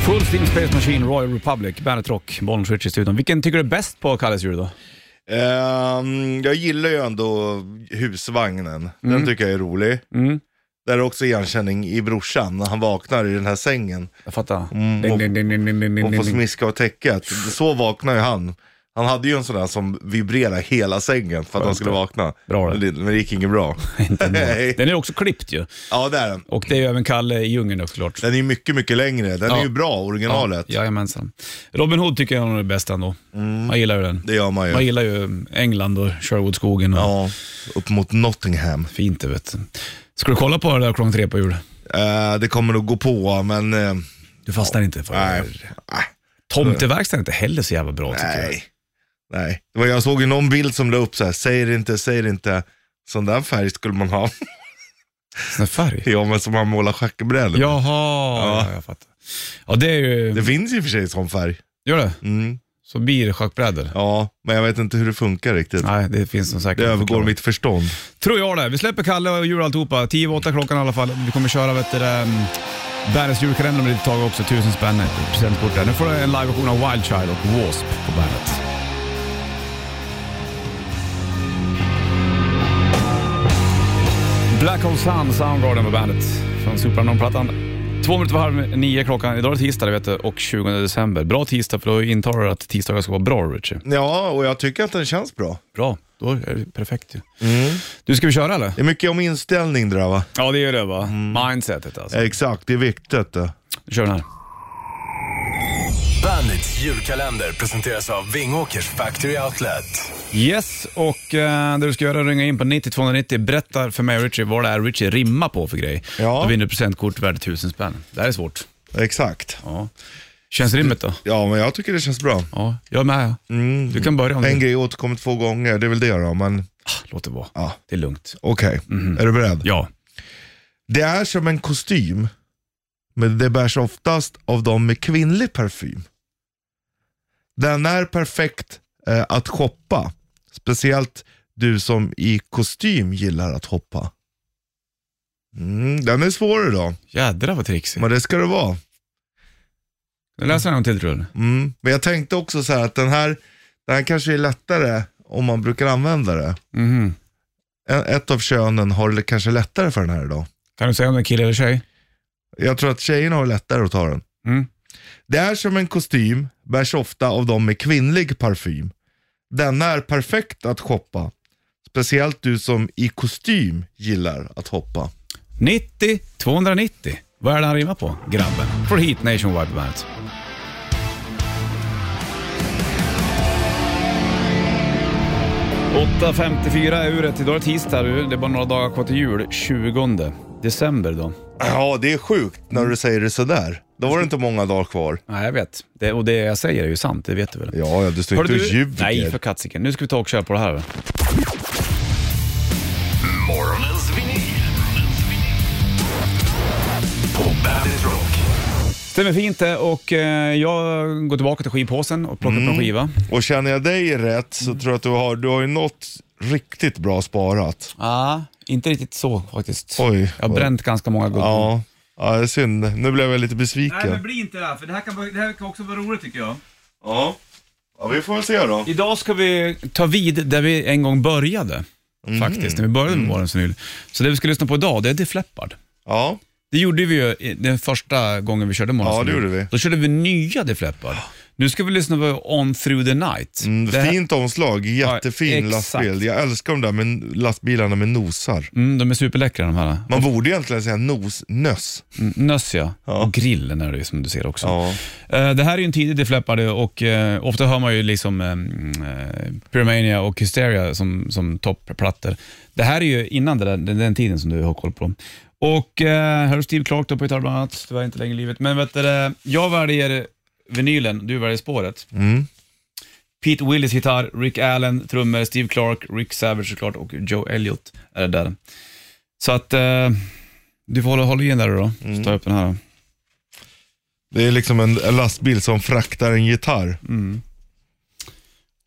Speaker 2: Full Steam Space Machine, Royal Republic, Bandet Rock, Bollnäs Ritchie i studion. Vilken tycker du är bäst på Kalles jul då?
Speaker 3: Ehm, jag gillar ju ändå husvagnen. Den tycker jag är rolig. Där är också igenkänning i brorsan när han vaknar i den här sängen
Speaker 2: Jag fattar.
Speaker 3: Mm, och-
Speaker 2: ding, ding, ding, ding, ding, ding,
Speaker 3: och får
Speaker 2: ding, ding.
Speaker 3: smiska av täcket. Så vaknar ju han. Han hade ju en sån där som vibrerade hela sängen för att han skulle vakna.
Speaker 2: Bra det.
Speaker 3: men, det, men det gick inget bra. Nej.
Speaker 2: Den är också klippt ju.
Speaker 3: ja det är den.
Speaker 2: Och det är ju även Kalle i djungeln också klart.
Speaker 3: Den är ju mycket, mycket längre. Den
Speaker 2: Ja.
Speaker 3: är ju bra, originalet.
Speaker 2: Ja, jajamensan. Robin Hood tycker jag är den bästa ändå.
Speaker 3: Mm.
Speaker 2: Man gillar ju den.
Speaker 3: Det gör man ju.
Speaker 2: Man gillar ju England och Sherwoodskogen. Och
Speaker 3: Eh. Ja, upp mot Nottingham.
Speaker 2: Fint det vet du. Ska du kolla på det där klockan tre på jul?
Speaker 3: Eh, det kommer nog gå på, men eh,
Speaker 2: Du fastnar inte för
Speaker 3: nej. Nej.
Speaker 2: Tomteverkstan är inte heller så jävla bra tycker jag.
Speaker 3: Nej. Nej. Det var, jag såg ju någon bild som la upp så här, säger inte, säger inte. Sån där färg skulle man ha.
Speaker 2: Sån där färg.
Speaker 3: ja, men som man målar schackbrädor.
Speaker 2: Jaha, ja. jag fattar. Ja, det är ju...
Speaker 3: Det finns ju i och för sig sån färg.
Speaker 2: Gör det?
Speaker 3: Mm.
Speaker 2: Så blir det schackbrädor.
Speaker 3: Ja, men jag vet inte hur det funkar riktigt.
Speaker 2: Nej, det finns som
Speaker 3: Det
Speaker 2: säkert...
Speaker 3: övergår mitt förstånd.
Speaker 2: Tror jag det. Vi släpper Kalle och jul och alltihopa. 10 över åtta klockan i alla fall. Vi kommer köra vet du, um, Bandets julkalender om ett litet tag också. Tusen spänn i presentkort där. Nu får du en liveversion av Wild Child och W.A.S.P. på Bandet. Black Hole Sun, Soundgarden på Bandet från Superunknown-plattan. Två minuter var halv nio klockan. Idag är det tisdag det vet du, och 20 december. Bra tisdag för då intalar du att tisdagar ska vara bra Richie.
Speaker 3: Ja, och jag tycker att den känns bra.
Speaker 2: Bra, då är det perfekt ju. Du, ska vi köra eller?
Speaker 3: Det är mycket om inställning det där va?
Speaker 2: Ja, det är det va?
Speaker 3: Mm.
Speaker 2: Mindsetet
Speaker 3: Eh.
Speaker 2: alltså.
Speaker 3: Exakt, det är viktigt. Det.
Speaker 2: Nu kör den här.
Speaker 4: Bandits julkalender presenteras av Vingåkers Factory Outlet.
Speaker 2: Yes, och eh, det du ska göra är att ringa in på 90290. Berätta för mig och Richie vad det är Richie rimmar på för grej.
Speaker 3: Ja.
Speaker 2: Då vinner du presentkort värde 1000 spänn. Det här är svårt.
Speaker 3: Exakt.
Speaker 2: Ja. Känns rimmet då?
Speaker 3: Ja, men jag tycker det känns bra. Mm.
Speaker 2: Ja, jag är med. Du kan börja om
Speaker 3: En
Speaker 2: du
Speaker 3: grej återkommer två gånger, det är väl det då, men
Speaker 2: Låt det vara.
Speaker 3: Ja.
Speaker 2: Det är lugnt.
Speaker 3: okej.
Speaker 2: Mhm.
Speaker 3: Är du beredd?
Speaker 2: Ja.
Speaker 3: Det är som en kostym, men det bärs oftast av de med kvinnlig parfym. Den är perfekt eh, att shoppa, speciellt du som i kostym gillar att hoppa. Mm, den är svår idag,
Speaker 2: Jädrar vad trixig.
Speaker 3: men det ska det vara.
Speaker 2: Nu läser jag en till tror jag.
Speaker 3: Mm. Men jag tänkte också så här att den här, den här kanske är lättare om man brukar använda det.
Speaker 2: Mhm.
Speaker 3: E- Ett av könen har det kanske lättare för den här idag.
Speaker 2: Kan du säga om det är kille eller tjej?
Speaker 3: Jag tror att tjejerna har lättare att ta den.
Speaker 2: Mm.
Speaker 3: Det är som en kostym, bärs ofta av de med kvinnlig parfym. Denna är perfekt att shoppa. Speciellt du som i kostym gillar att hoppa.
Speaker 2: 90 290. Vad är det han rimmar på, grabben? Får hit Nationwide på bandet. Åtta 54 är uret. Idag är det tisdag. du. Det är bara några dagar kvar till jul. 20 december då.
Speaker 3: Ja, det är sjukt när du säger det sådär. Då var det inte många dagar kvar.
Speaker 2: Nej, jag vet. Det, och det jag säger är ju sant, det vet du väl?
Speaker 3: Ja, ja, du står
Speaker 2: Hörru
Speaker 3: inte och
Speaker 2: du-
Speaker 3: ljuger.
Speaker 2: Nej, för katsiken. Nu ska vi ta och köra på det här. va?
Speaker 4: Morgonens vinyl. På Bandit Rock.
Speaker 2: Stämmer fint det och eh, jag går tillbaka till skivpåsen och plockar
Speaker 3: Mm.
Speaker 2: upp en skiva.
Speaker 3: Och känner jag dig rätt
Speaker 2: Mm.
Speaker 3: så tror jag att du har, du har ju något riktigt bra sparat.
Speaker 2: Ja, inte riktigt så faktiskt.
Speaker 3: Oj.
Speaker 2: Jag har bränt ganska många goda.
Speaker 3: Ja, ja det är synd. Nu blev jag lite
Speaker 7: Nej men
Speaker 3: besviken.
Speaker 7: bli inte det, för det här, kan, vara- det här kan också vara roligt tycker jag.
Speaker 3: Ja. ja, vi får väl se då.
Speaker 2: Idag ska vi ta vid där vi en gång började.
Speaker 3: Mm.
Speaker 2: Faktiskt, när vi började med morgonens vinyl. Så det vi ska lyssna på idag, det är Def Leppard.
Speaker 3: Ja,
Speaker 2: Det gjorde vi ju i- den första gången vi körde morgonens
Speaker 3: Ja, det
Speaker 2: vinyl.
Speaker 3: gjorde vi.
Speaker 2: Då körde vi nya Def Leppard. Nu ska vi lyssna på On Through the Night.
Speaker 3: mm,
Speaker 2: det här,
Speaker 3: fint omslag. Jättefin
Speaker 2: Ja, exakt.
Speaker 3: lastbil. Jag älskar de där med lastbilarna med nosar.
Speaker 2: mm, de är superläckra de här.
Speaker 3: Man borde egentligen säga nos, nöss.
Speaker 2: Mm, Nöss ja.
Speaker 3: Ja.
Speaker 2: Och grillen är det ju som du ser också.
Speaker 3: Ja.
Speaker 2: Eh, Det här är ju en tidig Def Leppard och eh, ofta hör man ju liksom eh, Pyromania och Hysteria som, som toppplattor. Det här är ju innan det där, den, den tiden som du har koll på. Och eh, här har Steve Clark då på gitarr bland annat, tyvärr inte längre i livet. Men vet du, det, jag väljer vinylen, du väljer spåret.
Speaker 3: Mm.
Speaker 2: Pete Willis gitarr, Rick Allen trummor, Steve Clark, Rick Savage såklart och Joe Elliott är det där. Så att eh, du får hålla, hålla i den där då, så tar jag upp den här. Då.
Speaker 3: Det är liksom en en lastbil som fraktar en gitarr.
Speaker 2: Mm.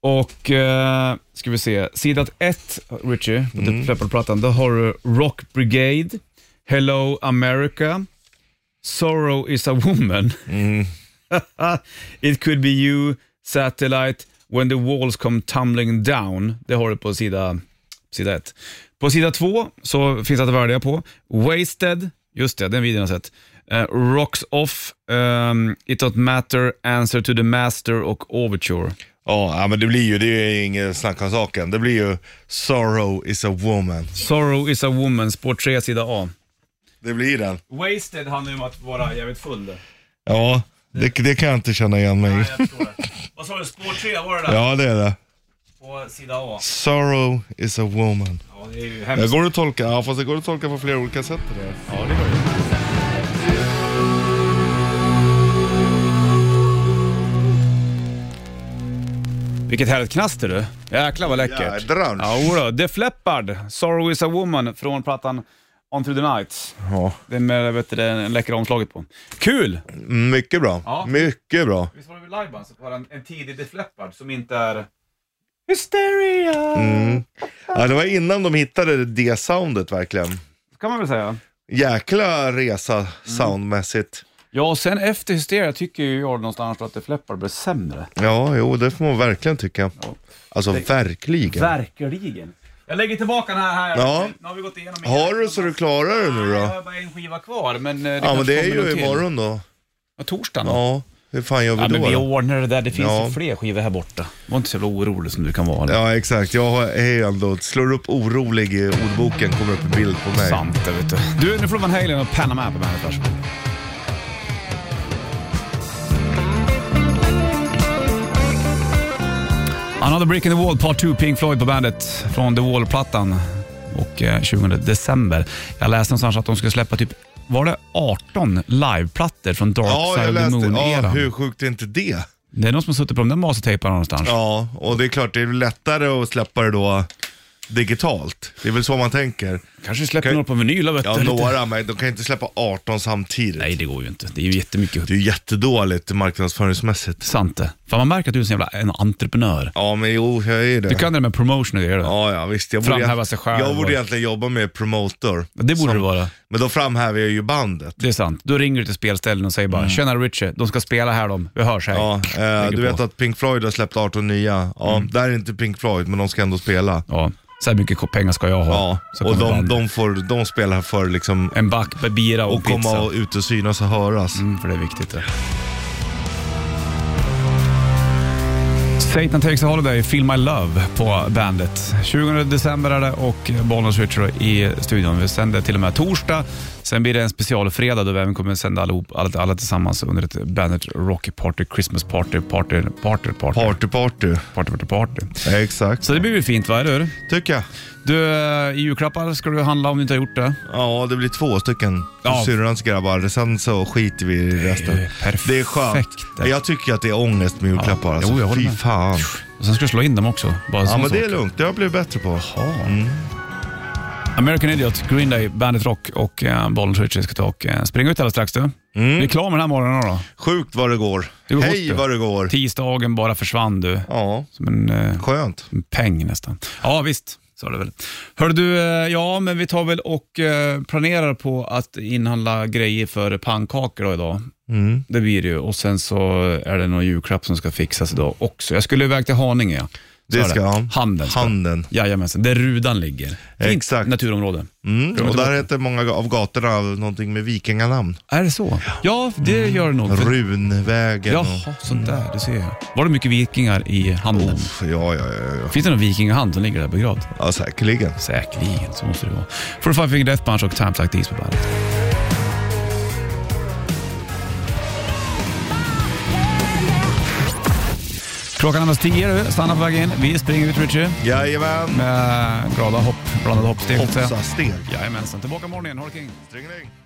Speaker 2: Och eh, ska vi se, sidan 1, Richie, på mm. plattan då har du Rock Brigade, Hello America, Sorrow is a woman, It could be you, Satellite, When the walls come tumbling down. Det har du på sida, sida 1. På sida 2 så finns det att välja på. Wasted, just det, den videon har jag sett. Eh, rocks off, ehm, It don't matter, Answer to the master och Overture.
Speaker 3: Ja, ja, men det blir ju, det är inget snack om saken. Det blir ju Sorrow is a woman.
Speaker 2: Sorrow is a woman, spår 3, sida A.
Speaker 3: Det blir den.
Speaker 2: Wasted handlar ju om att vara jävligt full.
Speaker 3: Ja, det, det kan jag inte känna igen mig i.
Speaker 2: Vad sa du, spår 3 var det där?
Speaker 3: Ja, det är det.
Speaker 2: På sida A.
Speaker 3: Sorrow is a woman.
Speaker 2: Ja, det är ju
Speaker 3: Det
Speaker 2: hemskt.
Speaker 3: går att tolka, ja, fast det går att tolka på flera olika sätt. Det där.
Speaker 2: Vilket härligt knaster du. Jäklar vad läckert.
Speaker 3: Jädrar.
Speaker 2: Ja, jodå. Def Leppard, Sorrow is a woman från plattan On through the night.
Speaker 3: Ja.
Speaker 2: Det är med vet du, det läckra omslaget på. Kul!
Speaker 3: Mm, Mycket bra.
Speaker 2: Ja.
Speaker 3: Mycket bra.
Speaker 2: Visst var det vid liveband så var det en, en tidig Def Leppard som inte är... Hysteria!
Speaker 3: Ja, det var innan de hittade det soundet verkligen.
Speaker 2: Kan man väl säga.
Speaker 3: Jäkla resa soundmässigt.
Speaker 2: Ja, och sen efter Hysteria tycker ju jag någonstans att Def Leppard blev sämre.
Speaker 3: Ja, jo, det får man verkligen tycka. Alltså verkligen.
Speaker 2: Verkligen. Jag lägger tillbaka den här. här.
Speaker 3: Ja.
Speaker 2: Nu har vi gått igenom
Speaker 3: Har du så du klarar det nu
Speaker 2: Jag
Speaker 3: då?
Speaker 2: har bara en skiva kvar, men eh, det
Speaker 3: Ja,
Speaker 2: kanske
Speaker 3: men det är
Speaker 2: kommer någon
Speaker 3: ju
Speaker 2: till.
Speaker 3: imorgon då.
Speaker 2: Ja, torsdagen. Ja.
Speaker 3: Ja, hur fan gör vi
Speaker 2: Ja,
Speaker 3: då?
Speaker 2: men vi
Speaker 3: då?
Speaker 2: ordnar det där. Det finns
Speaker 3: Ja.
Speaker 2: ju fler skivor här borta. Var inte så jävla orolig som du kan vara.
Speaker 3: Ja, exakt. Jag har- är ju ändå, slår upp orolig i ordboken, kommer upp en bild på mig.
Speaker 2: Sant det, vet du. Du, nu får du Van Halen och Panama på bandet. varsågod. Another Brick in the Wall, Part 2, Pink Floyd på bandet från The Wall-plattan och eh, 20 december. Jag läste någonstans att de skulle släppa typ, var det 18 liveplattor från Dark
Speaker 3: Ja,
Speaker 2: Side
Speaker 3: jag
Speaker 2: of the
Speaker 3: läste. Ja,
Speaker 2: Moon-eran?
Speaker 3: hur sjukt är inte det?
Speaker 2: det är någon som har suttit på de där mastertejparna någonstans.
Speaker 3: Ja, och det är klart det är lättare att släppa det då digitalt. Det är väl så man tänker.
Speaker 2: Kanske släpper
Speaker 3: Kan-
Speaker 2: några på vinyl, vet
Speaker 3: Ja,
Speaker 2: du, lite-
Speaker 3: några, men de kan ju inte släppa 18 samtidigt.
Speaker 2: Nej, det går ju inte. Det är ju jättemycket.
Speaker 3: Det är ju jättedåligt marknadsföringsmässigt.
Speaker 2: Sant det. Fan, man märker att du är en sån jävla en entreprenör.
Speaker 3: Ja, men jo, jag är det.
Speaker 2: Du kan det där med promotion och grejer. då.
Speaker 3: Ja, ja, visst. Jag
Speaker 2: Framhäva sig själv
Speaker 3: Jag borde
Speaker 2: och-
Speaker 3: egentligen jobba med promotor.
Speaker 2: Det borde det vara.
Speaker 3: Men då framhäver jag ju bandet.
Speaker 2: Det är sant. Då ringer du till spelställen och säger bara “Tjena Richie, de ska spela här de. Vi hörs här”.
Speaker 3: Mm. Ja, eh,
Speaker 2: Lägger
Speaker 3: du vet
Speaker 2: på. Mm.
Speaker 3: att Pink Floyd har släppt 18 nya. Ja, Det här är inte Pink Floyd, men de ska ändå spela.
Speaker 2: Ja. Så här mycket pengar ska jag ha.
Speaker 3: Ja,
Speaker 2: så
Speaker 3: och
Speaker 2: kommer
Speaker 3: de,
Speaker 2: bandet.
Speaker 3: de, får, de spelar för liksom
Speaker 2: En back med bira och,
Speaker 3: och
Speaker 2: pizza.
Speaker 3: komma och ut och synas och höras.
Speaker 2: Mm, för det är viktigt det. Satan takes a holiday, Feel My Love på bandet. 20 december är det och Bollnäs Richard i studion. Vi sänder till och med torsdag. Sen blir det en specialfredag då vi även kommer sända allihop, alla, alla tillsammans under ett Bandet Rock Party, Christmas Party, Party, Party, Party, Party,
Speaker 3: Party, party.
Speaker 2: Party, Party.
Speaker 3: Ja, exakt.
Speaker 2: Mm. Så det blir ju fint, va? Eller hur?
Speaker 3: Tycker jag.
Speaker 2: Du, eh, i julklappar ska du handla om du inte har gjort det.
Speaker 3: Ja, det blir två stycken.
Speaker 2: Ja.
Speaker 3: Syrrans grabbar. Sen så skiter vi i resten.
Speaker 2: perfekt.
Speaker 3: Det är skönt. Jag tycker att det är ångest med julklappar.
Speaker 2: Ja,
Speaker 3: Alltså.
Speaker 2: jo, jag håller
Speaker 3: Fy
Speaker 2: med.
Speaker 3: fan.
Speaker 2: Och sen ska du slå in dem också. Bara
Speaker 3: Ja,
Speaker 2: sån
Speaker 3: men det är
Speaker 2: sak.
Speaker 3: lugnt. Det har jag blivit bättre på.
Speaker 2: Mm. American Idiot, Green Day, Bandit Rock och eh, Bollnäs Ritchie ska ta och eh, springa ut alldeles strax
Speaker 3: Mm.
Speaker 2: du. Vi är klara med den här morgonen då.
Speaker 3: Sjukt vad det går.
Speaker 2: Det går fort,
Speaker 3: Hej
Speaker 2: du.
Speaker 3: vad det går.
Speaker 2: Tisdagen bara försvann du.
Speaker 3: Ja,
Speaker 2: Som en, eh,
Speaker 3: skönt.
Speaker 2: en peng nästan. Ja visst, sa du väl. Hör du, eh, ja men vi tar väl och eh, planerar på att inhandla grejer för pannkakor då idag.
Speaker 3: Mm.
Speaker 2: Det blir det ju. Och sen så är det någon julklapp som ska fixas idag också. Jag skulle iväg till Haninge. ja. Så
Speaker 3: Det
Speaker 2: är
Speaker 3: ska han.
Speaker 2: Handen. Ska.
Speaker 3: Handen.
Speaker 2: Jajamensan, där Rudan ligger. Fint
Speaker 3: Exakt.
Speaker 2: naturområde.
Speaker 3: Mm. Och där heter många av gatorna någonting med vikinganamn.
Speaker 2: Är det så? Ja, det gör det nog. För-
Speaker 3: Runvägen och... Oh.
Speaker 2: Jaha, sånt där. Det ser jag. Var det mycket vikingar i handen?
Speaker 3: Uff, ja, ja, ja, ja.
Speaker 2: Finns det någon vikingahand som ligger där begravd?
Speaker 3: ja säkerligen.
Speaker 2: Säkerligen, så måste det vara. For Five Finger Death Punch och Times Like These på bandet. Klockan närmar sig tio, du. stanna på vägen in. Vi springer ut, Richie,
Speaker 3: Jajamän.
Speaker 2: med glada hopp, blandade hoppsteg. så att säga.
Speaker 3: Hoppsa steg.
Speaker 2: Jajamensan, tillbaka imorgon igen. Ha det king.
Speaker 3: Stringeling.